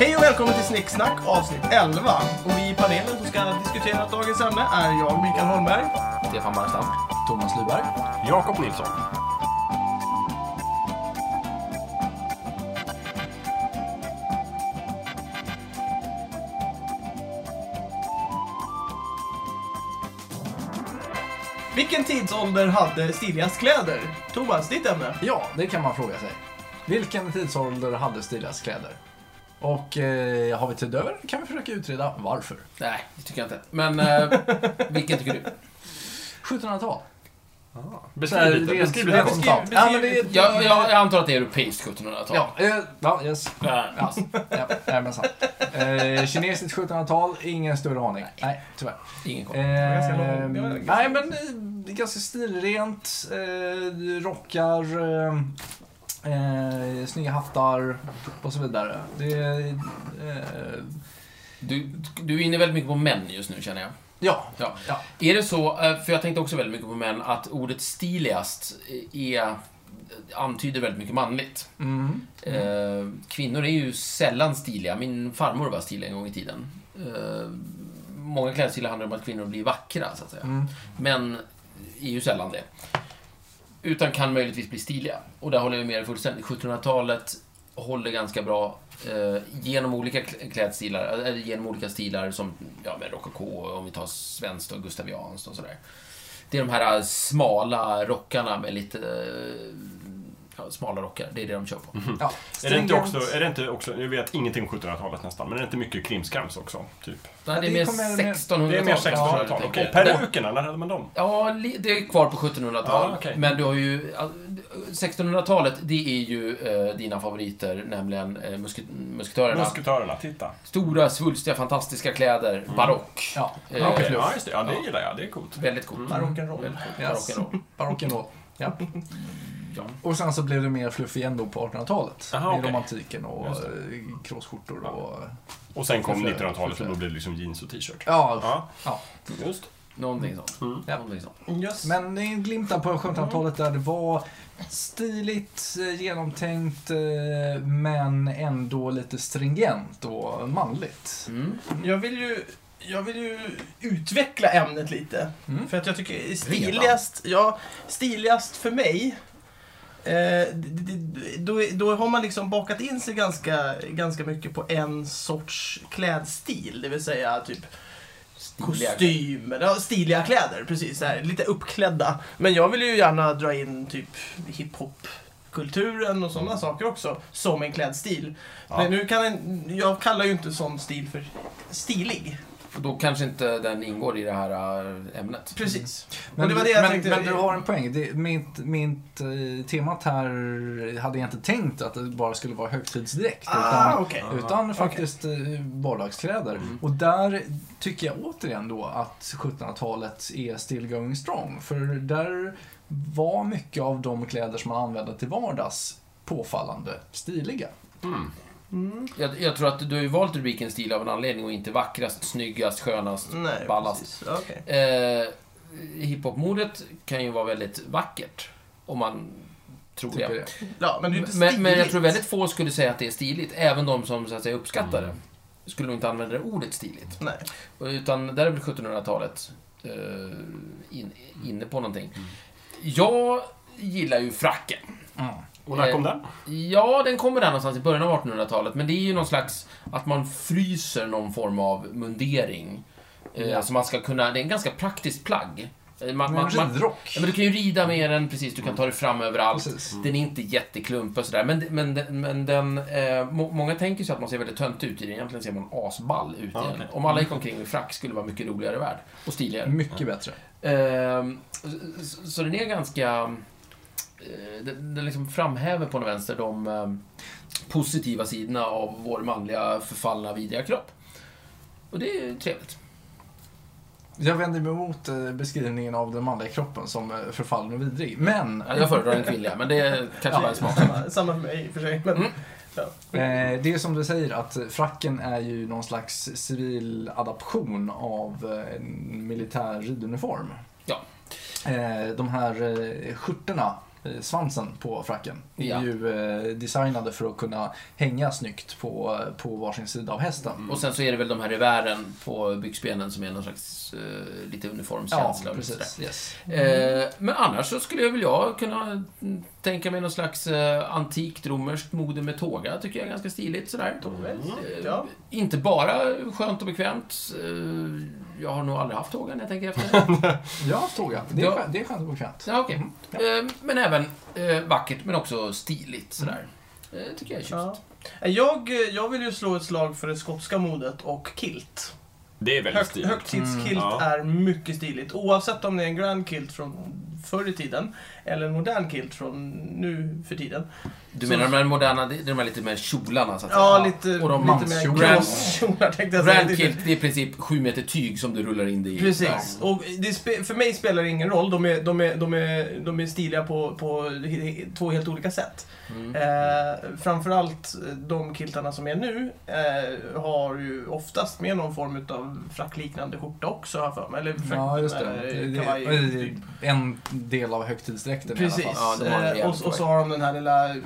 Hej och välkommen till Snicksnack avsnitt 11. Och vi i panelen som ska diskutera dagens ämne är jag, Mikael Holmberg. Stefan Barstam. Thomas Lyberg. Jakob Nilsson. Vilken tidsålder hade stiligast kläder? Thomas, ditt ämne? Ja, det kan man fråga sig. Vilken tidsålder hade stiligast kläder? Och eh, har vi tid över kan vi försöka utreda varför. Nej, det tycker jag inte. Men eh, vilken tycker du? 1700-tal. Så här, Beskriv lite. rent Beskriv lite. spontant. Beskriv- Ja, men det är... Jag, jag, jag antar att det är europeiskt 1700-tal. Ja, eh, ja, yes. Ja. Alltså, ja, nej, men sant. Eh, kinesiskt 1700-tal, ingen större aning. Nej, tyvärr. Ingen koll. ganska lång- Eh, det var ganska- nej, men eh, ganska stilrent. Eh, rockar, eh, eh, snygga hattar och så vidare. Det, eh, Du, du är inne väldigt mycket på män just nu, känner jag. ja, Ja. ja. Är det så, eh, för jag tänkte också väldigt mycket på män, att ordet stiligast eh, är, antyder väldigt mycket manligt. Mm. Eh, Kvinnor är ju sällan stiliga. Min farmor var stilig en gång i tiden. Eh, Många klädstilar handlar om att kvinnor blir vackra, så att säga. Mm. Men är ju sällan det. Utan kan möjligtvis bli stiliga. Och där håller jag med dig fullständigt. 1700-talet håller ganska bra eh, genom olika kl- klädstilar, eh, eller genom olika stilar som ja, med rokoko, om vi tar svenskt och gustavianskt och sådär. Det är de här eh, smala rockarna med lite... eh, Ja, smala rockar, det är det de kör på. Ja. Hmm. Är det, inte Stringent. också, är det inte också, jag vet ingenting om 1700-talet nästan, men är det inte mycket krimskrams också? Typ? Nej, det det är mer kommer med- 1600-tal. Det är mer tror jag 1600-tal. du Okej, tänker. Den- perukerna, när hade man dem? Ja, li- det är kvar på 1700-talet. Ja, okej. Men du har ju... all- 1600-talet, det är ju eh, dina favoriter, nämligen eh, musket- musketörerna. Musketörerna, titta. Stora, svulstiga, fantastiska kläder. Barock. Ja, Eh, Okej, fluff. ja, just det. Ja, det gillar jag. Det Mm. är coolt. Väldigt coolt. Barock'n'roll. Väldigt coolt. Mm. Yes. Barocken barocken då. Ja. Ja. Och sen så blev det mer fluff igen då på 1800-talet. Aha, med okej. romantiken och Just eh, kråsskjortor och... Och sen kom Förflöjt. 1900-talet och då blev det liksom jeans och t-shirt. Ja, Ja, ja. just. Någonting sånt. Mm. Ja. Någonting sånt. Yes. Men det är en glimtar på 1700-talet Mm. där det var stiligt, eh, genomtänkt, eh, men ändå lite stringent och manligt. Mm. Jag vill ju, jag vill ju utveckla ämnet lite. Mm. För att jag tycker stiligast, ja, stiligast för mig, eh, d- d- d- då, är- då har man liksom bakat in sig ganska, ganska mycket på en sorts klädstil. Det vill säga typ Stiliga. kostymer, ja, stiliga kläder, precis. Så här, lite uppklädda. Men jag vill ju gärna dra in typ hiphop kulturen och Mm. sådana saker också som en klädstil. Ja. Men nu kan en, jag kallar ju inte sån stil för stilig. Och då kanske inte den ingår i det här äh, ämnet. Precis. Men, och det var det jag men, tänkte. men du har en poäng. Det, mitt mitt eh, temat här hade jag inte tänkt att det bara skulle vara högtidsdräkt. Ah, okej. Utan faktiskt eh, vardagskläder. Mm. Och där tycker jag återigen då att 1700-talet är still going strong. För där var mycket av de kläder som man använde till vardags påfallande stiliga. Mm. Jag, jag tror att du har ju valt rubriken stil av en anledning och inte vackrast, snyggast, skönast, Nej, ballast. precis. Okej. Eh, Hiphopmodet kan ju vara väldigt vackert. Om man tror Tycker det. jag. Ja, men det är inte Men, men jag stiligt. tror väldigt få skulle säga att det är stiligt. Även de som så att säga uppskattar Mm. det. Skulle nog inte använda det ordet stiligt. Nej. Utan där är väl 1700-talet eh, in, inne på någonting. Mm. Jag gillar ju fracken. Mm. Och när kom Eh, den? Ja, den kommer där någonstans i början av 1800-talet. Men det är ju någon slags att man fryser någon form av mundering. Eh, Ja. Så man ska kunna, det är en ganska praktiskt plagg. Eh, Man, Men man, man, ridrock. ja, men du kan ju rida med den, precis. Du kan ta dig fram överallt. Mm. Precis. Den är inte jätteklumpig och sådär. Men, men, den- men den, eh, må, många tänker sig att man ser väldigt tönt ut i den. Egentligen ser man asball ut i Ja, den. okej. Om alla gick Mm. omkring med frack skulle det vara mycket roligare värld. Och stiligare. Mycket bättre. Ehm, så- så, så den är ganska... eh, Den, den liksom framhäver på den vänster de eh, positiva sidorna av vår manliga förfallna vidriga kropp. Och det är ju trevligt. Jag vänder mig emot eh, beskrivningen av den manliga kroppen som eh, förfallen och vidrig. Men Ja, Jag föredrar den kvinnliga, men det är kanske bara en smak. Samma, samma för mig i och för sig. Men, Mm. ja. Eh, det är som du säger att fracken är ju någon slags civil adaption av eh, en militär riduniform. Ja. Eh, de här eh, skjortorna eh, svansen på fracken är Ja. ju eh, designade för att kunna hänga snyggt på, eh, på varsin sida av hästen. Och sen så är det väl de här revären på byxbenen som är någon slags eh, lite Ja, uniformskänsla. och lite precis. Yes. sådär. Eh, men annars så skulle jag väl jag kunna mm, tänka mig någon slags eh, antikt romerskt mode med tåga. tycker jag är ganska stiligt sådär. Väldigt, ja. Inte bara skönt och bekvämt. eh, Jag har nog aldrig haft tåga när jag tänker efter. Ja, tåga. Det är, Ja. skönt, det är skönt och bekvämt. Ja, okej. Eh, Men även eh, vackert, men också stiligt sådär. Eh, tycker jag är tjusigt. Ja. Jag, jag vill ju slå ett slag för det skotska modet och kilt. Det är väldigt Högt, stiligt. högtidskilt Mm, ja. är mycket stiligt. Oavsett om det är en grand kilt från förr i tiden eller en modern kilt från nu för tiden. Du Så- menar de här moderna, det är de här lite mer kjolarna så att Ja, säga? lite, Och de lite mer grand- crosskjolar tänkte jag säga. typ- Grand kilt, det är i princip sju meter tyg som du rullar in dig i. Precis. Och det spe, för mig spelar det ingen roll. De är, de är, de är, de är stiliga på, på he- he- två helt olika sätt. Mm. Eh, framförallt de kiltarna som är nu eh, har ju oftast med någon form av frackliknande skjorta också har jag för mig. Eller frack, Ja, just det. eh, Det, det, kavaj, det är en del av högtidsdräkten i alla Precis. fall. Ja, det var en Eh, rejäl och, och så har de den här lilla eh,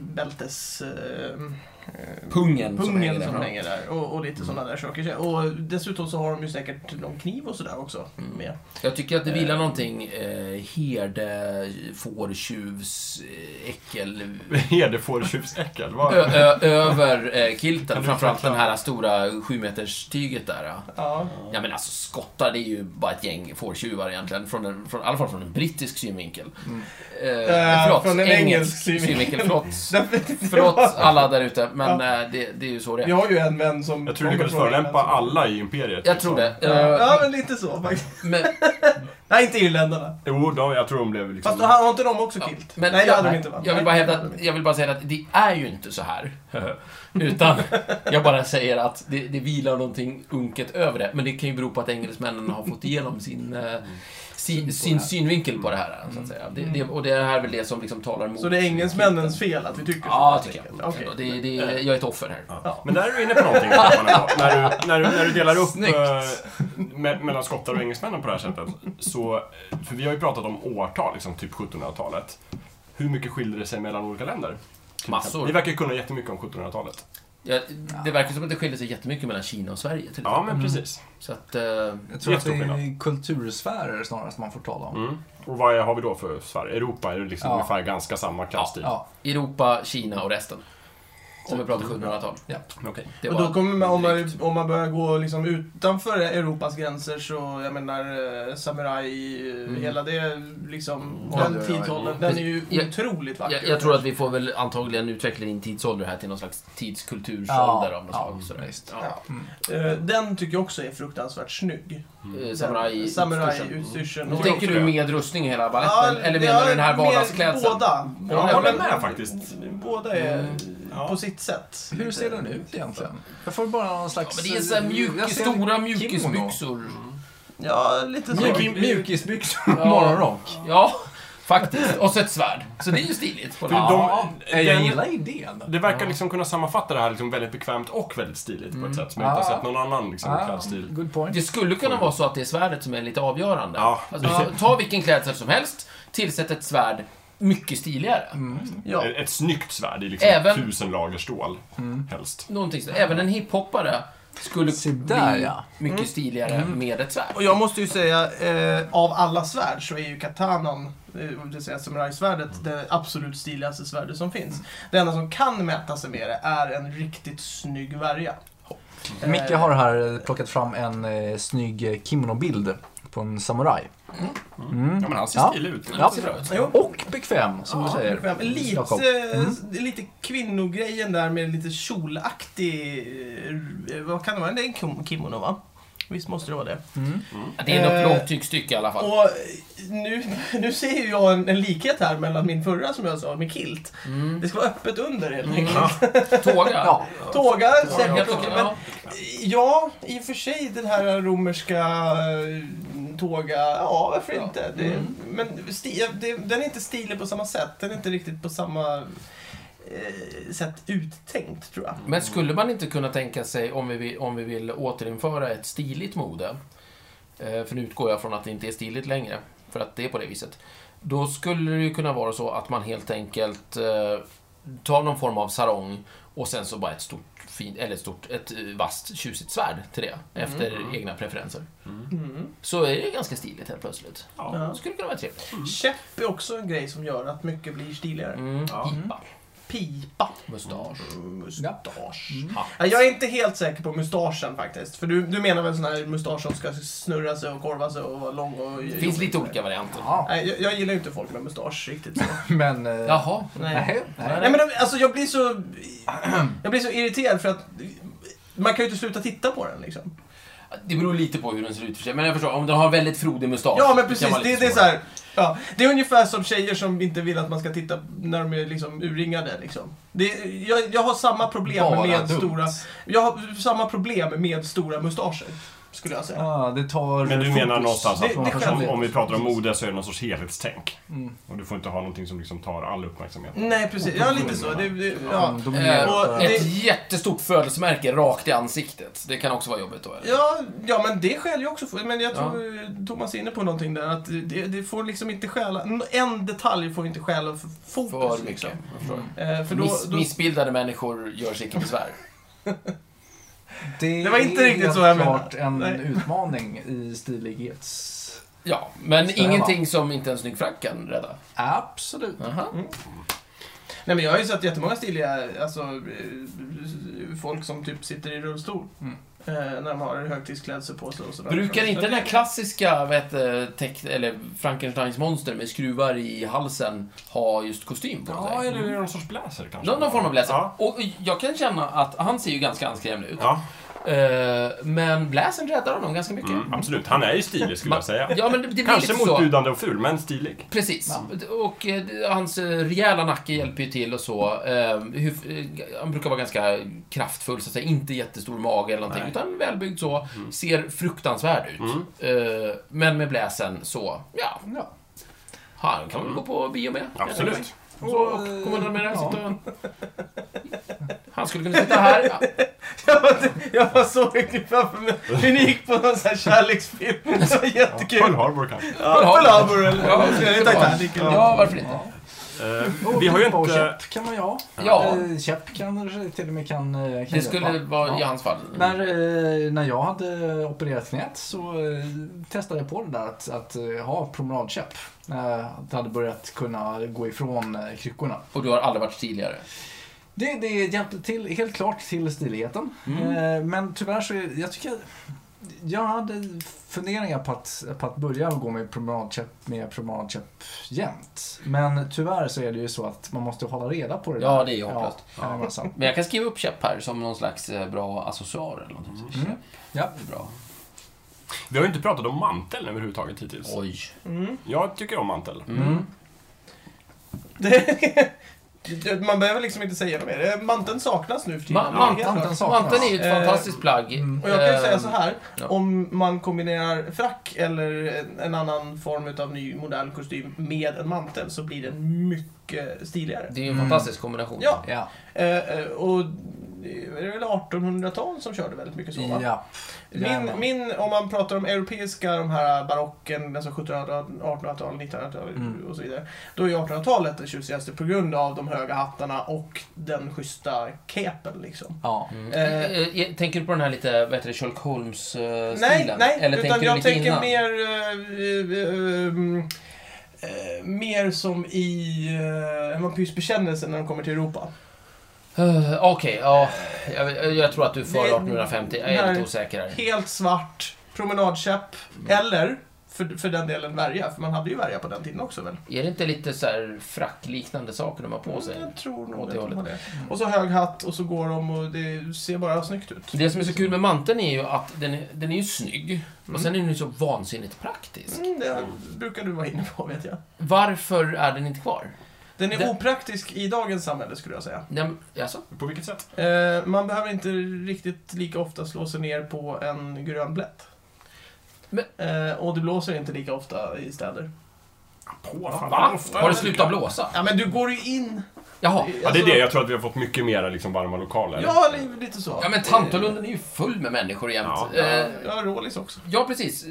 bältes... eh, eh, Pungen, som hänger Pungen där som fram. hänger där och, och lite sådana där saker. Och dessutom så har de ju säkert någon kniv och sådär också Mm. med. Jag tycker att det vilar Eh. någonting eh, herde, fårtjuvs, eh, äckel... Herdefårtjuvsäckel. Vad- Ö, ö, över eh, kilten, Kan du framförallt förklara? den här stora sjumeterstyget där. ja. Ja. Ja men alltså skottar, det är ju bara ett gäng fårtjuvar egentligen. Från en, från, I alla fall från en brittisk synvinkel. Mm. Eh, Eh, från en engelsk synvinkel. Förlåt, Därför att det förlåt var- alla där ute, men eh, det, det är ju så det Vi är. har ju en vän som... Jag tror du kommer lyckades från förolämpa Irland. alla i Imperiet. Jag liksom. tror det. Eh, Ja, men lite så faktiskt. men, Nej, inte irländarna. Jo, de, jag tror de blev liksom... Fast har inte de också Ja, kilt? men- nej, det ja, hade de nej. inte va? Jag Nej, vill, bara det hävda, hade de inte. jag vill bara säga att det är ju inte så här. Utan jag bara säger att det, det vilar någonting unket över det. Men det kan ju bero på att engelsmännen har fått igenom sin, eh, sin, sin synvinkel på det här. Så att säga. Det, det, och det här är väl det som liksom talar mot... Mm. Så det är engelsmännens fel att vi tycker Ja, så? tycker jag. Okej. Ändå. Det, det, jag är ett offer här. Ja. Ja. Men där är du inne på någonting, Stefan, ändå. när, du, när, du, när du delar upp Snyggt. eh, me, mellan skottar och engelsmännen på det här sättet. Så, eh, för vi har ju pratat om årtal, liksom, typ 1700-talet. Hur mycket skiljer det sig mellan olika länder? Massor. Ni verkar ju kunna jättemycket om 1700-talet. Ja, det verkar som att det skiljer sig jättemycket mellan Kina och Sverige. Till Ja, exempel. men precis. Så att... eh, Jag tror att det Jättestor är kultursfärer snarare som man får tala om. Mm. Och vad har vi då för Sverige? Europa är det liksom Ja. ungefär ganska samma typ. klasstid. Ja, Europa, Kina och resten. Om vi pratar 1700-tal. ja. Okej. Det Typ. och var då kommer man, om, man, drygt. om man börjar gå liksom utanför Europas gränser så, jag menar, eh, samuraj, eh, hela det liksom, Ja, den ja, ja, tidsåldern, Mm. ja. den är ju Jag- otroligt vacker. Jag, jag tror att vi får väl antagligen utveckla in tidsålder här till någon slags tidskultursålder Ja, av något ja, Mm. slag. sådär. visst. Ja. Eh, Den tycker jag också är fruktansvärt snygg. Eh, Samurai... Samurai-utstyrseln. Nu Och- tänker du med rustning i hela baletten? eller menar ja, du den här mer vardagsklädseln? Båda. Ja, jag håller men- med faktiskt. Båda är Mm. Ja. på sitt sätt. Hur ser den ut egentligen? Jag får bara någon Ja, slags... men det är så här Alltså, jag mjukis, ser stora kimono. mjukisbyxor. Ja, lite så. Mjuk, mjukisbyxor Ja. och morgonrock. Ja, faktiskt. Och så ett svärd. Så det är ju stiligt. På det. Ja. Ja, Eh, jag den- gillar idén. Det verkar liksom kunna sammanfatta det här liksom väldigt bekvämt och väldigt stiligt på ett sätt som jag inte Ah. har sett någon annan liksom, klädstil. good point. Det skulle kunna vara så att det är svärdet som är lite avgörande. Ja. Alltså, ta- ta vilken klädsel som helst, tillsätt ett svärd, mycket stiligare. Mm. Ja. Ett, ett snyggt svärd i liksom Även- tusen lager stål, helst. Någonting så. Även en hiphoppare skulle Se där, bli ja. Mm. mycket stiligare med ett svärd. Och jag måste ju säga, eh, av alla svärd så är ju katanan, eh, om du säger samurajsvärdet, Mm. det absolut stiligaste svärdet som finns. Det enda som kan mäta sig med det är en riktigt snygg värja. Eh, Micke har här eh, plockat fram en eh, snygg eh, kimonobild på en samuraj. Ja, men han ser Ja. stilig ut. Ja, Mm. det ser bra ut. Jo. Och bekväm, som du Ja, säger. bekväm. Lite, Jakob. det är lite kvinnogrejen där med lite kjolaktig... eh, Vad kan det vara? Det är en kim- kimono va? Visst måste det vara det. Mm. Det är Eh, något långt tyggstycke i alla fall. Och eh, nu, nu ser ju jag en, en likhet här mellan min förra som jag sa med kilt. Det ska vara öppet under helt enkelt. Tåga. Mm. Ja. Tåga, Jag säkert. tycker- Men ja. ja, i och för sig den här romerska eh, tåga, ja varför Ja. Mm. inte? Det, Men sti, det, den är inte stilig på samma sätt. Den är inte riktigt på samma eh, sätt uttänkt tror jag. Men skulle man inte kunna tänka sig, om vi, vill- om vi vill återinföra ett stiligt mode, eh, för nu utgår jag från att det inte är stiligt längre, för att det är på det viset, Då skulle det ju kunna vara så att man helt enkelt eh, tar någon form av sarong och sen så bara ett stort, fint, eller ett stort, ett eh, vasst, tjusigt svärd till det. Efter egna preferenser. Mm. Så är det ganska stiligt helt plötsligt. Ja. Det skulle kunna vara trevligt. Käpp är också en grej som gör att mycket blir stiligare. Mm. Ja. Pipa. Pipa. Mustasch. Mustasch. Hatt. Ja, jag är inte helt säker på mustaschen faktiskt. För du, du menar väl sån här mustasch som ska snurra sig och korva sig och vara lång och... Det finns lite olika varianter. Ja. Nej, jag, jag gillar ju inte folk med mustasch riktigt så. Men... eh, Jaha. Nej. Nej. nej. Nej men de- alltså jag blir så... Jag blir så irriterad för att man kan ju inte sluta titta på den liksom. Det beror lite på hur den ser ut för sig. Men jag förstår, om den har väldigt frodig mustasch. Ja men kan precis, vara lite det, det är så svårare. här, ja, Det är ungefär som tjejer som inte vill att man ska titta när de är liksom urringade liksom. Det, jag, jag har samma problem Bara med dumt. stora... Jag har samma problem med stora mustascher. Skulle jag säga. Ah, det tar Men du fokus menar någonstans Det- att det från kan- om, personligheten. om vi pratar om mode så är det någon sorts helhetstänk. Mm. Och du får inte ha någonting som liksom tar all uppmärksamhet. Nej precis, ja lite så. Det, det, ja. De Eh, är- och ett det- jättestort födelsemärke rakt i ansiktet. Det kan också vara jobbigt då. Eller? Ja, ja, men det skäl jag också. För. Men jag tror Thomas är inne på någonting där. Att det, det får liksom inte stjäla... En detalj får inte stjäla för fokus. För mycket. liksom. jag förstår. Eh, för då, Miss, då, Missbildade människor gör sig icke besvär. Det, Det var inte är riktigt helt så jag klart en Nej. utmaning i stilighets... Ja, men Stämma. ingenting som inte en snygg frack kan rädda. Absolut. Aha. Nej men jag har ju sett jättemånga stiliga, alltså eh, folk som typ sitter i rullstol. Mm. Eh, när de har högtidsklädsel på sig och sådär. Brukar inte den här klassiska, vad heter teck- eller Frankensteins monster med skruvar i halsen ha just kostym på sig? Ja, eller är det någon sorts blazer kanske? Någon, någon form av blazer. Ja. Och jag kan känna att han ser ju ganska anskrämlig ut. ja. Eh, men bläsen räddar honom ganska mycket. Mm, absolut. Han är ju stilig skulle jag säga. Ja, men det, det blir Kanske lite så. motbjudande och ful, men stilig. Precis. Och eh, hans eh, rejäla nacke hjälper ju till och så. Eh, hur- eh, han brukar vara ganska kraftfull, så att säga. Inte jättestor mage eller någonting, Nej. Mm. utan välbyggd så. Ser fruktansvärd ut. Eh, men med bläsen så, ja, Ja. han kan väl gå på bio med. Mm. Absolut. Och så kommer han med det här, eh, Ja. sitta och... Han skulle kunna sitta här. Ja. Jag, var- jag var så riktigt framför mig hur ni gick på någon sån här kärleksfilm. Det var jättekul. Pearl Harbor kanske. Ja, Pearl Harbor eller Ja, eller det Titanic. var- ja, varför inte? Ja. Eh, Och vi har ju pipa och inte... käpp kan man ju ha. Ja, Eh, Käpp kan till och med kan, eh, kan det skulle hjälpa. vara i Ja. hans fall. När, eh, när jag hade opererat knät så eh, testade jag på det där att, att eh, ha promenadkäpp. Eh, Att jag hade börjat kunna gå ifrån eh, kryckorna. Och du har aldrig varit stiligare. Det, det hjälpte till, helt klart till stiligheten. Mm. Eh, Men tyvärr så, är- jag tycker jag hade funderingar på att, på att börja gå med promenadkäpp, med promenadkäpp jämt. Men tyvärr så är det ju så att man måste hålla reda på det Ja, där. det är ju hopplöst. Ja, ja, men sant. Men jag kan skriva upp käpp här som någon slags eh, bra accessoar eller någonting. sånt. Mm. Ja. Det är bra. Vi har ju inte pratat om manteln överhuvudtaget hittills. Oj. Mm. Jag tycker om mantel. Mm. Det, man behöver liksom inte säga något mer. Eh, Manteln saknas nu för tiden. Ma- Det är helt manteln klart. saknas. Manteln är ju ett Eh, fantastiskt plagg. mm. Och jag kan ju Eh, säga så här. ja. Om man kombinerar frack eller en- en annan form av ny modern kostym med en mantel så blir den mycket stiligare. Eh, Det är ju en Mm. fantastisk kombination. Ja. Ja. Eh, eh, och det är väl 1800-tal som körde väldigt mycket så va? ja. Min, min, om man pratar om europeiska, de här barocken, alltså 1700-talet, 1800-talet, 1900-talet Mm. och så vidare. Då är 1800-talet det tjusigaste på grund av de höga hattarna och den schyssta kepen liksom. Ja. Mm. Eh, Eh, eh, tänker du på den här lite, vad heter det, Sherlock Holmes-stilen? Nej, nej, Eller utan tänker du jag lite tänker innan? mer... eh, eh, ehm, eh, mer som i uh, en vampyrs bekännelse när de kommer till Europa. Eh, Okej, ja. Jag, jag tror att du Det- för 1850. Jag är nej. lite osäker här. Helt svart, promenadkäpp, Mm. eller för, för den delen värja, för man hade ju värja på den tiden också väl? Är det inte lite så här frackliknande saker de har på sig? Jag tror nog Åt det att de hållet. har det. Och så hög hatt och så går de och det ser bara snyggt ut. Det som är så kul med manteln är ju att den är, den är ju snygg, och sen är den ju så vansinnigt praktisk. Mm, det brukar du vara inne på vet jag. Varför är den inte kvar? Den är Det- opraktisk i dagens samhälle skulle jag säga. Nej, men, alltså, På vilket sätt? Eh, man behöver inte riktigt lika ofta slå sig ner på en grön blätt. Men- Eh, och det blåser inte lika ofta i städer. På fan, va? ofta Har det jag- slutat blåsa? Ja men du går ju in alltså- Jaha. Ja, det är det. Jag tror att vi har fått mycket mer liksom, varma lokaler. Ja, li- lite så. Ja, men Tantolunden är ju full med människor jämt. Ja. Eh, Ja, Rålis också. Ja, precis.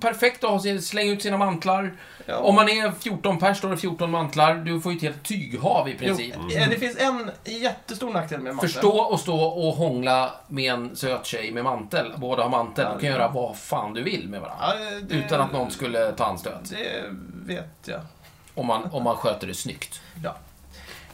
Perfekt att ha sin- slänga ut sina mantlar. Ja. Om man är 14 pers, då är det 14 mantlar. Du får ju ett helt tyghav i Jo, princip. eh, det finns en jättestor nackdel med manteln. Mm. Förstå och stå och hångla med en söt tjej med mantel. Båda har mantel. Du kan göra vad fan du vill med varandra. Ja, det, Utan att någon skulle ta anstöt. Det vet jag. Om man, om man sköter det snyggt. Ja.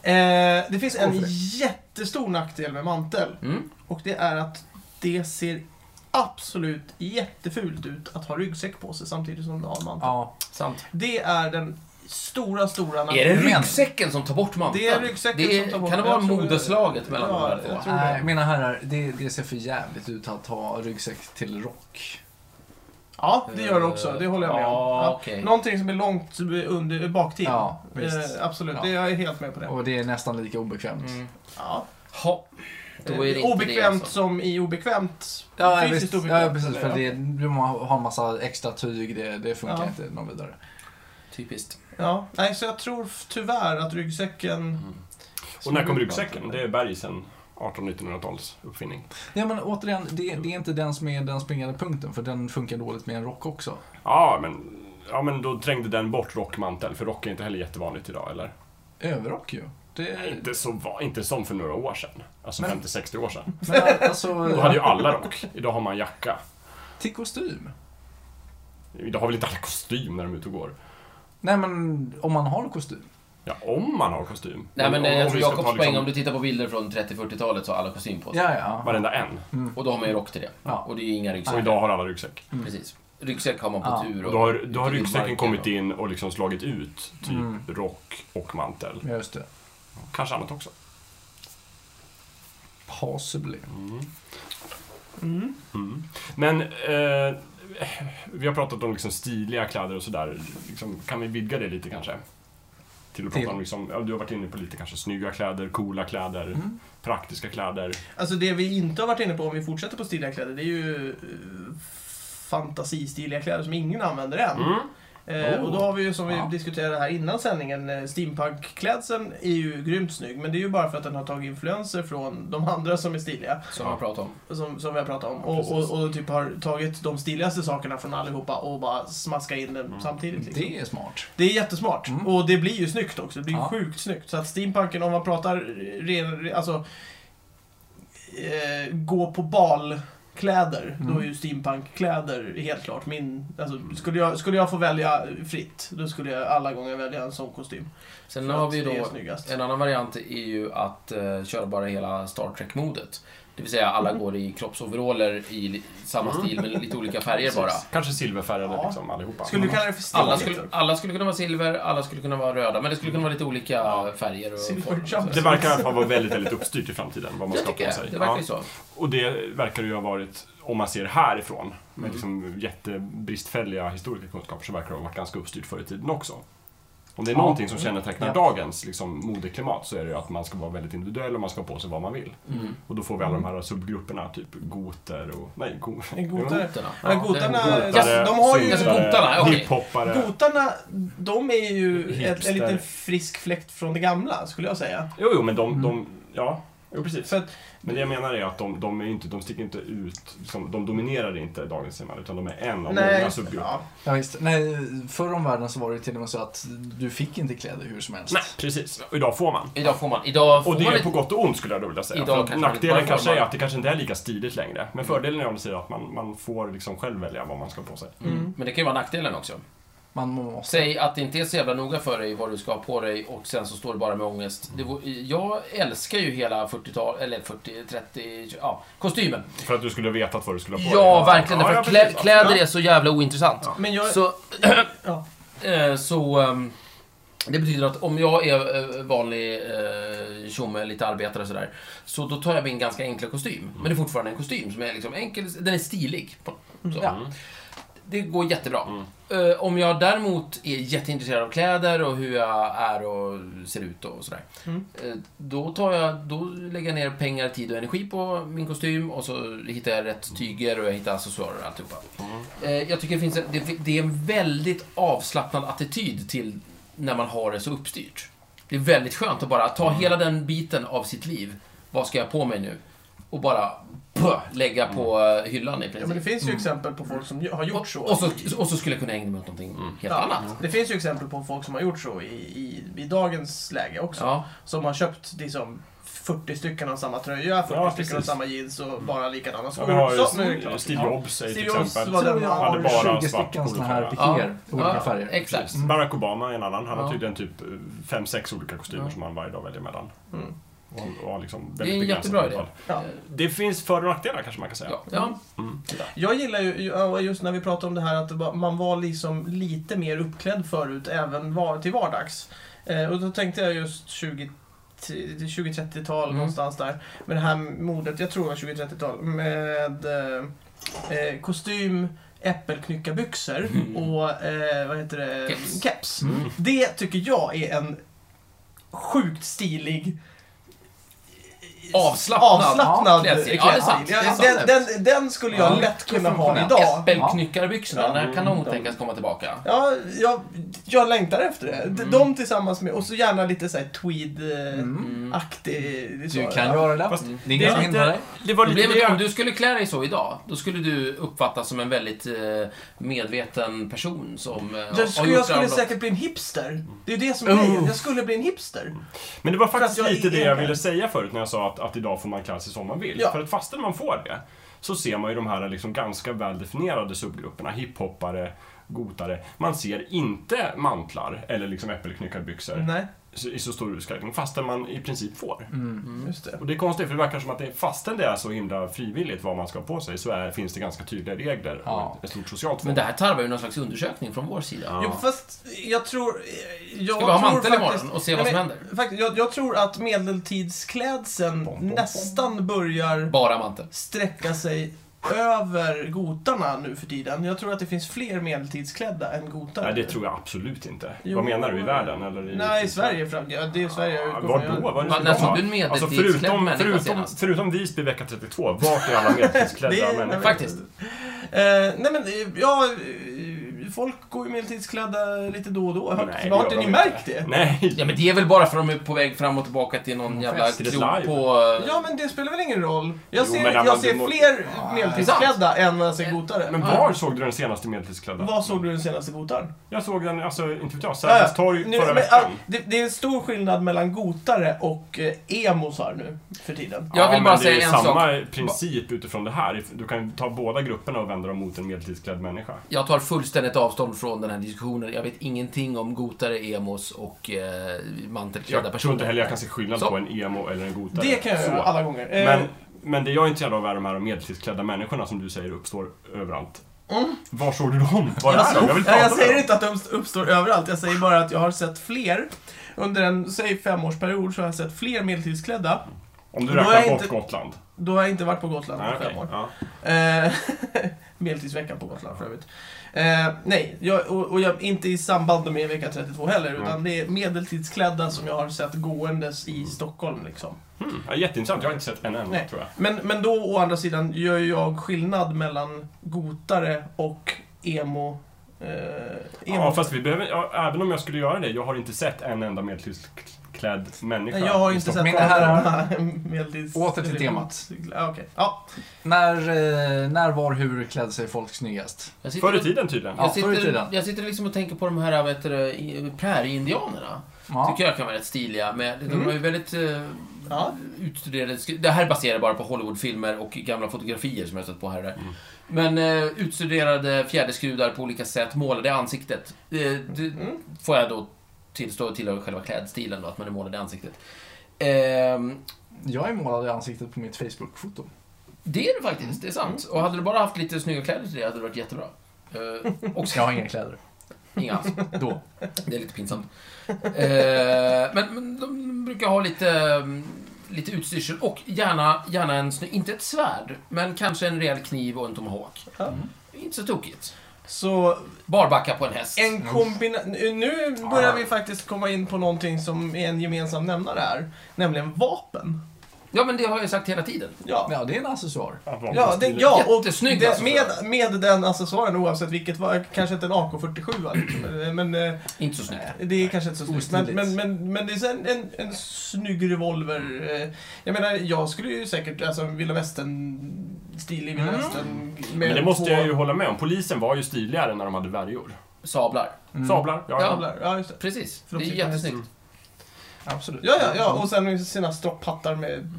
Eh, det finns en jättestor nackdel med mantel. Mm. Och det är att det ser absolut jättefult ut att ha ryggsäck på sig samtidigt som du har mantel. Ja. Sant. Det är den stora, stora Är det nackdelen. ryggsäcken som tar bort manteln? Det är ryggsäcken Det är- som tar bort Kan det den. vara Jag tror det- modeslaget mellan Ja, de här jag två? tror det. Nej, Eh, mina herrar, det, det ser för jävligt ut att ha ryggsäck till rock. Ja, det gör det också. Det håller jag med om. Ja, Ja. okej. Någonting som är långt under, baktill. Ja, visst. Eh, absolut, Ja. det, jag är helt med på det. Och det är nästan lika obekvämt. Mm. Ja. Ha. Då är det inte det obekvämt alltså. som i obekvämt. Ja, ja, fysiskt visst. obekvämt, ja precis. eller? För det, du har en massa extra tyg, det, det funkar Ja. inte någon vidare. Typiskt. Ja, nej, så jag tror f- tyvärr att ryggsäcken... Och när kom ryggsäcken? Det är Bergsen 1800-1900-tals uppfinning. Ja, men återigen, det, det är inte den som är den springande punkten, för den funkar dåligt med en rock också. Ja, men, ja, men då trängde den bort rockmantel, för rock är inte heller jättevanligt idag, eller? Överrock ju. Nej, Det, Inte, så, va- inte som för några år sedan. Alltså Men- 50-60 år sedan. men Då hade alltså, ju alla rock. Idag har man jacka. till kostym. Idag har väl inte alla kostym när de är ute och går? Nej, men om man har kostym. Ja, om man har kostym. Nej men om, om jag vi tror ska Jakobs ta liksom poäng, om du tittar på bilder från 30-40-talet så har alla kostym på sig. Ja, ja. Varenda en. Mm. Och då har man ju rock till det. Ja. Och det är ju inga ryggsäckar. Och idag har alla ryggsäck. Mm. Precis. Ryggsäck har man på Ja. tur. Och då har, ute då har i ryggsäcken marken kommit och- in och liksom slagit ut typ Mm. rock och mantel. Ja, Just det. Kanske annat också. Possibly. Mm. Men eh, vi har pratat om liksom stiliga kläder och sådär. Liksom, kan vi vidga det lite kanske? Till att prata Till? om, liksom, ja, du har varit inne på lite kanske snygga kläder, coola kläder, Mm. praktiska kläder. Alltså det vi inte har varit inne på om vi fortsätter på stiliga kläder, det är ju eh, fantasistiliga kläder som ingen använder än. Mm. Eh, och då har vi ju, som vi Ja. diskuterade här innan sändningen, eh, steampunkklädseln är ju grymt snygg. Men det är ju bara för att den har tagit influenser från de andra som är stiliga, Som man pratar om. som, som vi har pratat om. Och, precis. och, och typ har tagit de stiligaste sakerna från allihopa och bara smaska in den samtidigt. Liksom. Det är smart. Det är jättesmart. Mm. Och det blir ju snyggt också. Det blir ju Ja. sjukt snyggt. Så att steampunken, om man pratar ren, re- alltså eh, gå på balkläder, Mm. då är ju steampunkkläder helt klart min... Alltså, skulle, jag, skulle jag få välja fritt, då skulle jag alla gånger välja en sån kostym. Sen För har att vi det är då... snyggast. En annan variant är ju att eh, köra bara hela Star Trek-modet. Det vill säga Mm. alla går i kroppsoveraller i li- samma Mm. stil men lite olika färger bara. Kanske silverfärgade Ja. liksom allihopa. Skulle du kalla det för Alla stiligt? skulle, alla skulle kunna vara silver, alla skulle kunna vara röda, men det skulle kunna vara lite olika färger och former. Silverjump. Det verkar i alla fall vara väldigt, väldigt uppstyrt i framtiden vad man Jag ska ha tycker på det. sig. Det verkar Ja. ju så. Och det verkar ju ha varit, om man ser härifrån, Mm. med liksom jättebristfälliga historiska kunskaper, så verkar det ha varit ganska uppstyrt förr i tiden också. Om det är Ja. någonting som kännetecknar Ja. dagens liksom, modeklimat så är det ju att man ska vara väldigt individuell och man ska ha på sig vad man vill. Mm. Och då får vi alla de här subgrupperna, typ goter och... Nej, go, En gotare. Goterna. Ja, gotarna- det är- Yes, de har ju- Alltså, gotarna, okej. hiphoppare. Gotarna, de är ju ett, Hipster. en liten frisk fläkt från det gamla, skulle jag säga. Jo, jo, men de... Mm. de ja, jo, precis. För att, Men det jag menar är att de, de, är ju inte, de sticker inte ut, liksom, de dominerar inte dagens samhälle utan de är en av nej, många subgrupper. ja, Ja, visst. Nej, förr om världen så var det till och med så att du fick inte kläder hur som helst. Nej, precis. Och idag får man. Idag får man... Idag får Och det man är ett- på gott och ont skulle jag då vilja säga. Idag För kanske man inte nackdelen bara kanske får är man- Mm. att det kanske inte är lika stiligt längre. Men fördelen är om du säger att man, man får liksom själv välja vad man ska ha på sig. Mm. Men det kan ju vara nackdelen också. Man måste... Säg att det inte är så jävla noga för dig vad du ska ha på dig och sen så står det bara med ångest. Det, vore- jag älskar ju hela 40-tal, eller 40, 30, ja, kostymen. För att du skulle ha vetat vad du skulle ha på dig. Ja, verkligen. Därför att ja, klä, precis. kläder är så jävla ointressant. men jag... Så, ja. eh, så ehm, det betyder att om jag är eh, vanlig eh, tjomme, lite arbetare och sådär, så då tar jag min ganska enkla kostym. Men det är fortfarande en kostym som är liksom enkel, den är stilig. på- Så. Mm. Ja. Det går jättebra. Eh, om jag däremot är jätteintresserad av kläder och hur jag är och ser ut och sådär. Mm. eh, då, tar jag, då lägger jag ner pengar, tid och energi på min kostym och så hittar jag rätt tyger och jag hittar accessoarer och alltihopa. Eh, jag tycker det finns en, det, det är en väldigt avslappnad attityd till när man har det så uppstyrt. Det är väldigt skönt att bara ta hela den biten av sitt liv. Vad ska jag på mig nu? Och bara pö, lägga på eh, hyllan i Ja, men det princip. finns ju exempel på folk som ju- har gjort så. Mm. Och, och, så, Mm. och så skulle jag kunna ägna mig åt någonting Ja, helt annat. det finns ju exempel på folk som har gjort så i, i, i dagens läge också. Ja. Som har köpt liksom 40 stycken av samma tröja, 40 stycken av Ja, precis. samma jeans och bara likadana Ja, skor. Mm. vi har Så- men det är ju klart. Steve Jobs säger till Steve Jobs exempel. var den Tror jag hade har bara 20 svart stycken såna polofärg. här pikéer, olika färger. Exakt. Mm. Precis. Barack Obama är en annan. Han har Ja. tydligen typ eh, fem, sex olika kostymer Ja. som han varje dag väljer mellan. Mm. Och, han- och har liksom är väldigt en begränsat jättebra idé. antal. Ja. Det finns för och nackdelar kanske man kan säga. Mm. Ja. Ja. Jag gillar ju, ja, just när vi pratade om det här, att det var- man var liksom lite mer uppklädd förut, även var, till vardags. Eh, och då tänkte jag just 20 20-30-tal Mm. någonstans där. Med det här modet, jag tror det var 20-30-tal, med eh, eh, kostym, äppelknyckarbyxor och eh, vad heter det? Mm. Keps. keps. Mm. Det tycker jag är en sjukt stilig Avslappnad. avslappnad klädstil. Ja, det är sant. Ja, Det är sant. den, den, den skulle jag Ja. lätt kunna ha Ja. idag. Äppelknyckarbyxorna, Ja. när Mm, kan de de- tänkas komma tillbaka? Ja, jag, jag längtar efter det. De, Mm. de tillsammans med, och så gärna lite såhär tweed-aktig. Mm. så. Du kan ja. göra det. Fast Mm. Det är inget som hindrar dig. det var lite Problemet är om det. du skulle klä dig så idag, då skulle du uppfattas som en väldigt eh, medveten person som eh, Jag skulle, gjort jag det skulle här brott. säkert bli en hipster. Det är ju det som är Oh. grejen. Jag skulle bli en hipster. Men det var faktiskt För att jag lite är det jag en- ville säga förut när jag sa att, att idag får man klä sig som man vill. Ja. För att fastän man får det så ser man ju de här liksom ganska väldefinierade subgrupperna. Hiphoppare, gotare. Man ser inte mantlar eller liksom äppelknyckarbyxor Mm. Nej, Mm. så- i så stor utsträckning fastän man i princip får. Mm. just det. Och det är konstigt för det verkar som att det, fastän det är så himla frivilligt vad man ska ha på sig så är, finns det ganska tydliga regler Ja. och ett stort socialt Men tvång. det här tarvar ju någon slags undersökning från vår sida. Ja. Jo, fast jag tror... Jag Ska vi ha tror mantel faktiskt- imorgon och se vad Nej, som men händer? Faktiskt, jag, jag tror att medeltidsklädseln Pom, pom, pom. nästan börjar Bara mantel. sträcka sig över gotarna nu för tiden. Jag tror att det finns fler medeltidsklädda än gotare. Nej, det tror jag absolut inte. Jo. Vad menar du? I världen? Eller i, Nej, i Sverige fram- ja, Det är Sverige jag Ja, utgår Var från. då? Var det När skulle såg vara? du alltså, en medeltidsklädd förutom, människa förutom, senast? förutom Visby vecka 32, vart är alla medeltidsklädda Det- människor? Faktiskt. Eh, nej men, eh, ja... eh, Folk går ju medeltidsklädda lite då och då. Har, Nej, det har gör inte de ni märkt det? Nej. Ja, men det är väl bara för att de är på väg fram och tillbaka till någon jävla fest. krog Live. på... eh, Ja, men det spelar väl ingen roll. Jag Jo, ser, men när jag man- ser du må- fler Nej. medeltidsklädda än vad jag ser gotare. Men var såg du den senaste medeltidsklädda? Vad såg du den senaste gotaren? Jag såg den, alltså, inte vet jag, Sergels torg Nu- förra men, veckan. ah, det, det är en stor skillnad mellan gotare och eh, emosar nu för tiden. Jag vill men bara det är säga ju en samma sak. princip utifrån det här. Du kan ta båda grupperna och vända dem mot en medeltidsklädd människa. Jag tar fullständigt avstånd från den här diskussionen. Jag vet ingenting om gotare, emos och eh, mantelklädda Jag tror inte personer. heller jag kan se skillnad Så. på en emo eller en gotare. Det kan jag Så. göra alla gånger. Eh, Men, men det jag är intresserad av är de här medeltidsklädda människorna som du säger uppstår överallt. Var såg du dem? Var Mm. Jag, är de? Jag vill prata Eh, alltså, jag med säger dem. inte att de uppstår överallt, jag säger bara att jag har sett fler. Under en, säg femårsperiod, så har jag sett fler medeltidsklädda. Om du Då är räknar jag bort inte- Gotland. Då har jag inte varit på Gotland Nej, på okej. fem år. Ja. Eh, Medeltidsveckan på Gotland för övrigt. Eh, nej, jag, och, och jag, inte i samband med vecka 32 heller, utan det är medeltidsklädda som jag har sett gåendes i Stockholm. Liksom. Mm. Ja, jätteintressant. Jag har inte sett en enda, Nej. tror jag. Men, men då å andra sidan gör ju jag skillnad mellan gotare och emo. Eh, emo. Ja, fast vi behöver, ja, även om jag skulle göra det, jag har inte sett en enda medeltidsklädd människa. Nej, Liksom. jag har i inte sett Stockholm. Mina herrar. medeltids... Åter till temat. Ja, okej. Ja. När, eh, när, var, hur klädde sig folk snyggast? Jag sitter- Förr i tiden tydligen. Ja. Jag förr i tiden. sitter, jag sitter liksom och tänker på de här vet du, i- prärieindianerna. Ja. Mm. Tycker jag kan vara rätt stiliga. Men de var ju väldigt eh, Ja. utstuderade. sk- Det här baserar bara på Hollywoodfilmer och gamla fotografier som jag har stött på här och där. Mm. Men eh, utstuderade fjäderskrudar på olika sätt, målade i ansiktet. Eh, det Mm. får jag då tillstå tillhör själva klädstilen då, att man är målad i ansiktet. Ehm, Jag är målad i ansiktet på mitt Facebook-foto. det är det faktiskt, det är sant. Och hade du bara haft lite snygga kläder till det hade det varit jättebra. Eh, och Jag har inga kläder. inga alls. Då. Det är lite pinsamt. eh, men, men de brukar ha lite, mm, lite utstyrsel och gärna, gärna en, sny- inte ett svärd, men kanske en rejäl kniv och en tomahawk. Ja. Inte så tokigt. Så Barbacka på en häst. en kombina... Nu börjar vi faktiskt komma in på någonting som är en gemensam nämnare här. Nämligen vapen. Ja, men det har jag ju sagt hela tiden. Ja. Ja, det är en accessoar. Ja, det, ja och Jättesnygg det, accessoar. med, med den accessoaren oavsett vilket, var, kanske inte en AK47 va, liksom, eh, men eh, Inte så snyggt. det är kanske inte så snyggt. Men, Ostiligt. men, men, men det är så en, en, en snygg revolver. eh, Jag menar, jag skulle ju säkert, alltså vilda västern-stil i vilda Mm. västern. med Men det måste två jag ju hålla med om. Polisen var ju stiligare när de hade värjor. Sablar. Mm. Mm. Sablar, ja. ja. jävlar. Ja, just det. Precis. För Det är de tycker att- jättesnyggt. Absolut. Ja, ja, Mm. ja, och sen sina stropphattar med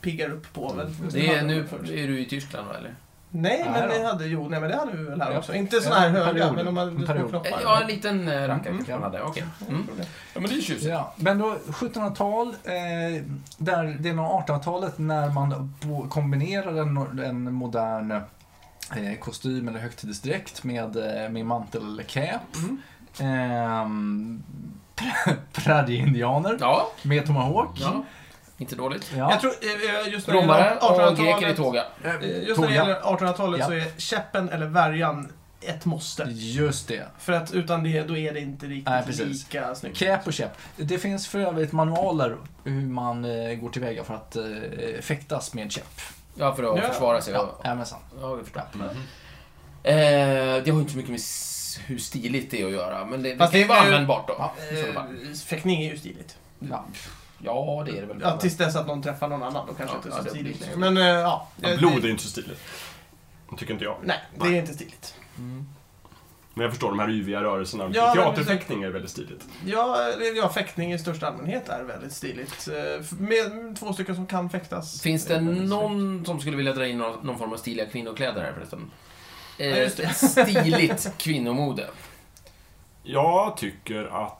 piggar upp på väl. Det är, nu Först. är du i Tyskland, va, eller? Nej, Nej men då. det hade, jo, nej, men det hade vi väl här Ja. också. Inte såna här Ja, höga, period. men de hade En små period. knoppar. Ja, en liten eh, rackare kanske ja. man hade. Okej. Mm. Ja, men det är ju tjusigt. Ja, men då 1700-tal, eh, där det är nog 1800-talet när man bo- kombinerar en, en modern eh, kostym eller högtidsdräkt med, eh, med mantel eller cap. Mm. Ehm, prä- Prärieindianer Ja. med tomahawk. ja. Inte dåligt. Ja. Jag tror eh, eh, just när det gäller Romare och 1800-talet greker i tåga. eh, Just när det Tåga. gäller 1800-talet Ja. så är käppen eller värjan ett måste. Just det. För att utan det, då är det inte riktigt Nej, precis. lika snyggt. Cap och käpp. Det finns för övrigt manualer hur man eh, går tillväga för att eh, fäktas med käpp. Ja, för att Ja. försvara sig. Ja, Ja, ja men sant. ja vi förstår. Ja. Eh, det har ju inte så mycket med s- hur stiligt det är att göra, men det, det Fast kan ju det vara är ju- användbart då. Ja. I så fall. Eh, fäktning är ju stiligt. Ja. Ja, det är det väl. Ja, tills dess att någon träffar någon annan, då kanske Ja, inte är ja, så det stiligt blir- längre. Men eh, ja. Ja, eh, Blod är det, inte så stiligt. Det tycker inte jag. Nej, det är inte stiligt. Mm. Men jag förstår de här yviga rörelserna. Ja, men- Teaterfäktning är väldigt stiligt. Ja, eh, ja, fäktning i största allmänhet är väldigt stiligt. Eh, f- Med två stycken som kan fäktas. Finns det är väldigt snyggt. någon som skulle vilja dra in någon, någon form av stiliga kvinnokläder här förresten? Eh, Ja, just det. stiligt kvinnomode. Jag tycker att... Eh,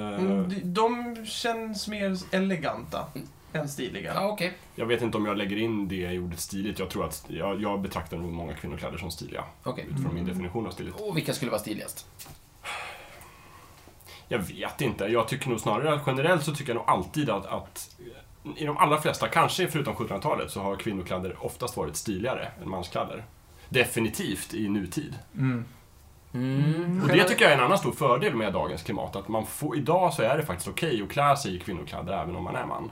Mm, de- De känns mer eleganta än stiliga. Ja, okej. Jag vet inte om jag lägger in det i ordet stiligt. Jag tror att jag, jag betraktar nog många kvinnokläder som stiliga. Okej. Utifrån min Mm. definition av stiligt. Och vilka skulle vara stiligast? Jag vet inte. Jag tycker nog snarare att generellt så tycker jag nog alltid att, att eh, i de allra flesta, kanske förutom 1700-talet, så har kvinnokläder oftast varit stiligare än manskläder. Definitivt i nutid. Mm. Mm. Och det tycker jag är en annan stor fördel med dagens klimat. Att man får, idag så är det faktiskt okej att klä sig i kvinnokläder även om man är man.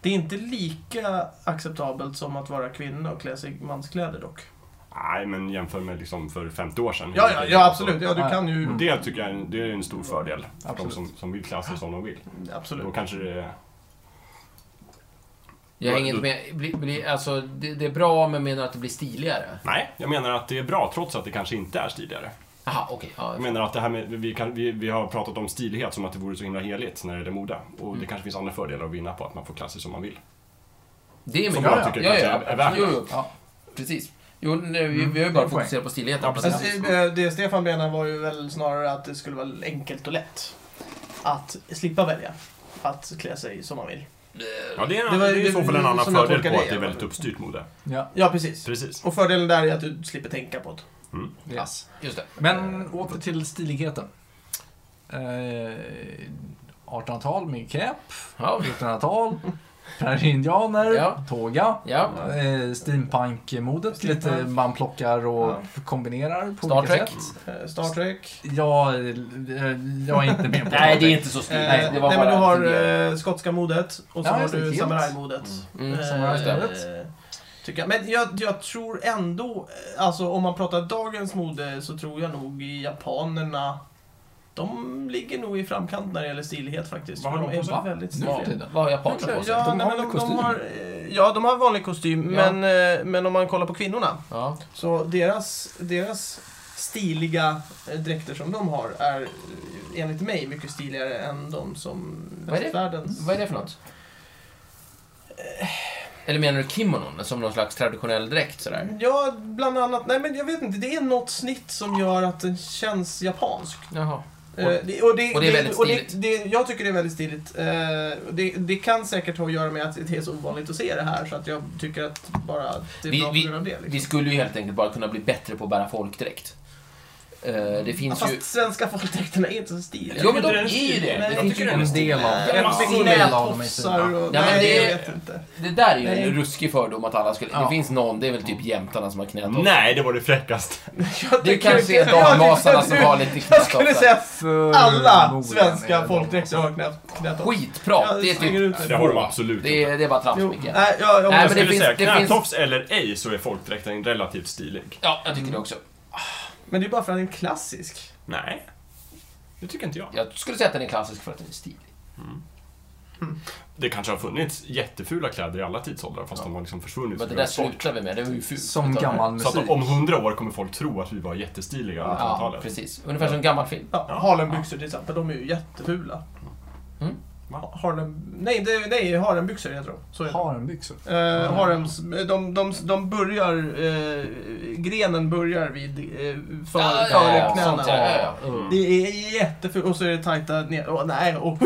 Det är inte lika acceptabelt som att vara kvinna och klä sig i manskläder dock. Mm. Nej, men jämför med liksom för 50 år sedan. Ja, ja, ja absolut. Ja, du Ja. kan ju... Och Det tycker jag är en, det är en stor fördel för de Absolut. som, som vill klä sig som de vill. Då Absolut. kanske det är... Jag hänger inte med. Bli, bli, alltså, det, det är bra, men menar att det blir stiligare? Nej, jag menar att det är bra trots att det kanske inte är stiligare. Aha, okej. Ja, Jag menar att det här med, vi, kan, vi, vi har pratat om stilighet som att det vore så himla heligt när det gäller mode. Och det kanske finns andra fördelar att vinna på att man får klä sig som man vill. det är Som mycket jag bra. tycker kanske är värt Jo, jo, Ja. precis. Jo, nej, vi, vi har ju Mm, bara en poäng. fokuserat på stiligheten. Ja, precis. Alltså, eh, det Stefan menar var ju väl snarare att det skulle vara enkelt och lätt att slippa välja att klä sig som man vill. Ja, det är, Det det var- är i så fall en det- annan som jag fördel på tolkar att det, det är ja. väldigt uppstyrt mode. Ja. Ja, precis. Precis. Och fördelen där är att du slipper tänka på det. Yes. Just det. Men åter till stiligheten. Eh, 1800-tal med cap, Ja, 1900-tal, prärieindianer, Ja. tåga, ja. eh, steampunk-modet, Steampunk. lite man plockar och kombinerar på Star olika Trek. sätt. Eh, Star Trek. Jag, eh, jag är inte med på Nej, det är inte så stiligt. Nej, det Eh, nej var men du bara har en fundering. eh, skotska modet och så Ja, har just det, du kilt. samurajmodet. Mm, Eh, samurajmodet. tycker jag. Men jag, jag tror ändå, eh, alltså om man pratar dagens mode så tror jag nog japanerna de ligger nog i framkant när det gäller stilighet faktiskt. Vad För har de på sig? är väldigt Ja, stiliga. Vad har japanerna på sig? Ja, De nej, men har de, väl kostym? de har, eh, ja, de har vanlig kostym, Ja. men, eh, men om man kollar på kvinnorna Ja. så deras, deras stiliga eh, dräkter som de har är eh, enligt mig mycket stiligare än de som Vad är det? västvärldens... Vad är det för något? Eh. Eller menar du kimonon? Som någon slags traditionell dräkt sådär? Ja, bland annat. Nej, men jag vet inte. Det är något snitt som gör att den känns japansk. Jaha. Eh, det- och, och det är väldigt och det- stiligt. Det, jag tycker det är väldigt stiligt. Eh, det, det kan säkert ha att göra med att det är så ovanligt att se det här, så att jag tycker att bara att det är Vi- bra vi- på grund av det. Liksom. Vi skulle ju helt enkelt bara kunna bli bättre på att bära folkdräkt. Eh, Det Ja, finns ju... fast svenska folkdräkterna är inte så stiliga. Jo, men de det är är ju det. Nej, Det jag finns ju tycker en det är- del av Nej, det. Ja, alltså, stor del av dem är knätofsar och... Ja, men Nej, det- jag vet inte. Det där är ju Nej. en ruskig fördom att alla skulle... Ja. Det finns någon, det är väl typ jämtarna som har knätofsar. Nej, det var det fräckaste. Jag Det tycker kanske är jag tycker dalmasarna att som du- har liksom lite Jag skulle säga knätofsar. att alla svenska folkdräkter har knät- knätofsar. Skitprat! Ja, Det är slänger typ... ut Det har de absolut Det är, det är bara trams, Jo, Micke. nej, jag, jag, Nej, Jag men det skulle finns- säga det finns- knätofs eller ej så är folkdräkten relativt stilig. Ja, jag tycker det också. Men det är bara för att den är klassisk. Nej, det tycker inte jag. Jag skulle säga att den är klassisk för att den är stilig. Det kanske har funnits jättefula kläder i alla tidsåldrar fast de har liksom Men försvunnit. det från där folk. slutar vi med, det var ju fult. Som gammal Så musik. att om hundra år kommer folk tro att vi var jättestiliga under Ja, 1800-talet. precis. Ungefär som en gammal film. Ja, Ja. Harlembyxor till exempel, de är ju jättefula. Mm. Ha- Harlem... Nej, det, nej, harlembyxor heter de. Så är det. Har en byxor. Eh, harems, de, de, de börjar, eh, grenen börjar vid eh, för, Ja, ja, före ja, knäna. sånt, ja, ja, ja. Mm. Det är jättefult och så är det tajta ner. Åh, nej, och,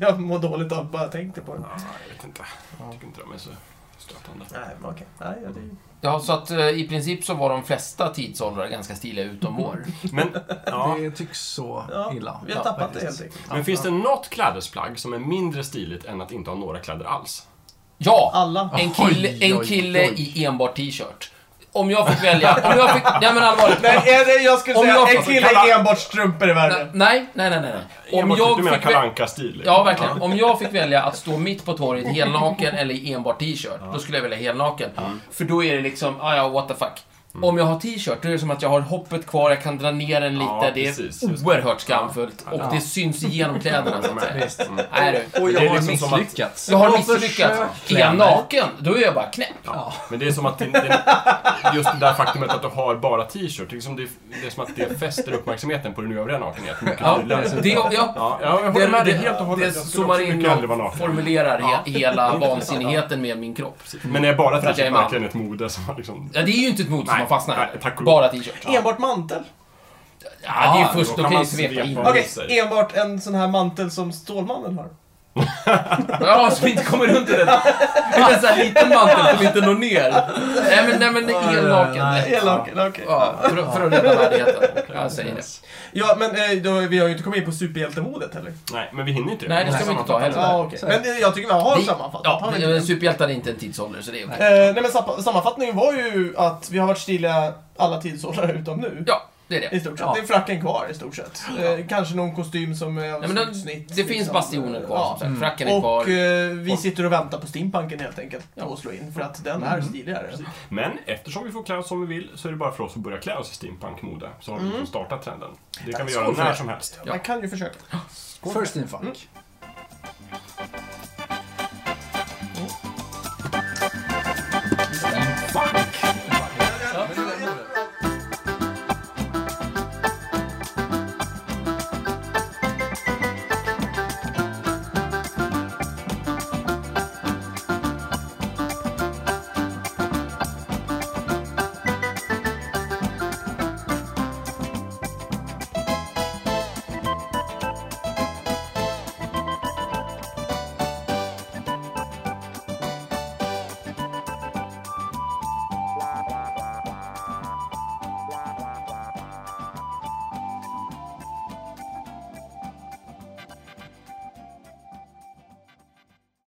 jag mår dåligt av att bara tänka på det. Ja, jag vet inte. Jag tycker inte de är så stötande. Nej, men okej. Nej, ja, det är ju- Ja, så att eh, i princip så var de flesta tidsåldrar ganska stiliga utom vår. Men, ja. Det tycks så ja, illa. Vi har Ja, tappat det faktiskt. helt enkelt. Men finns det något klädesplagg som är mindre stiligt än att inte ha några kläder alls? Ja! Alla. En kille, Oj, en oj, kille oj. i enbart t-shirt. Om jag fick välja, om jag fick, nej men allvarligt. Nej, eller jag skulle Om säga jag en får- kille kalla- i enbart strumpor är Nej, värre. nej, nej, nej. nej. Om Enbart- typ du menar jag fick Kalle vä- Anka-stil? Ja, verkligen. Om jag fick välja att stå mitt på torget helnaken eller i enbart t-shirt, då skulle jag välja helnaken. För då är det liksom, ah, ja, what the fuck. Mm. Om jag har t-shirt, då är det som att jag har hoppet kvar, jag kan dra ner den lite. Ja, det är precis, just det. oerhört skamfullt. Och det syns igenom kläderna, så att säga. Mm. Nej, du. Och Det jag är har liksom som att- misslyckats. Jag har Jag försökt misslyckats. Är klä jag mig. naken, då är jag bara knäpp. Ja. Men det är som att din, din, just det där faktumet att du har bara t-shirt, det är, som det, det är som att det fäster uppmärksamheten på din övriga nakenhet mycket Ja, tydligare. det, ja. Ja, jag håller med dig helt och hållet. det Jag skulle zoomar också in mycket hellre vara och naken. formulerar he- hela vansinnigheten med min kropp. Men är bara För att jag är t-shirt man. verkligen ett mode som har liksom... Ja, det är ju inte ett mod som Nej, man fastnar nej, tack och i. lov. Bara t-shirt. Enbart mantel. Ja, det är Ah, ju först, då då kan kan man ju svepa svepa. in. Okej, sig. enbart en sån här mantel som Stålmannen har. Ja, som inte kommer runt i den. Utan en sån här liten mantel som inte når ner. Nej, men, nej, men det är Nej. elnaken. Elak, okej. Ja, för, att- för att rädda värdigheten. Jag säger det. Ja, men eh, då, vi har ju inte kommit in på superhjältemodet heller. Nej, men vi hinner inte Nej, det ska vi inte ta heller. Ja, okej. Så är Men eh, jag tycker vi har Vi- sammanfattat. har Ja, vi inte det? men superhjältar är inte en tidsålder, så det är okej. Eh, nej, men sampa- sammanfattningen var ju att vi har varit stiliga alla tidsåldrar utom nu. Ja, det är det. I stort sett. Ja. Det är fracken kvar i stort sett. Eh, kanske någon kostym som är av Nej, men snyggt det, snitt. det finns liksom. bastioner kvar, Ja. som sagt. Fracken är Och kvar. eh, vi sitter och väntar på steampunken helt enkelt. Och slå in för att den Mm. är stiligare. Men eftersom vi får klä oss som vi vill så är det bara för oss att börja klä oss i steampunk-mode. Mm. Så har vi liksom startat trenden. Det kan vi göra Skål för när det. som helst. Ja. Man kan ju försöka. För steampunk.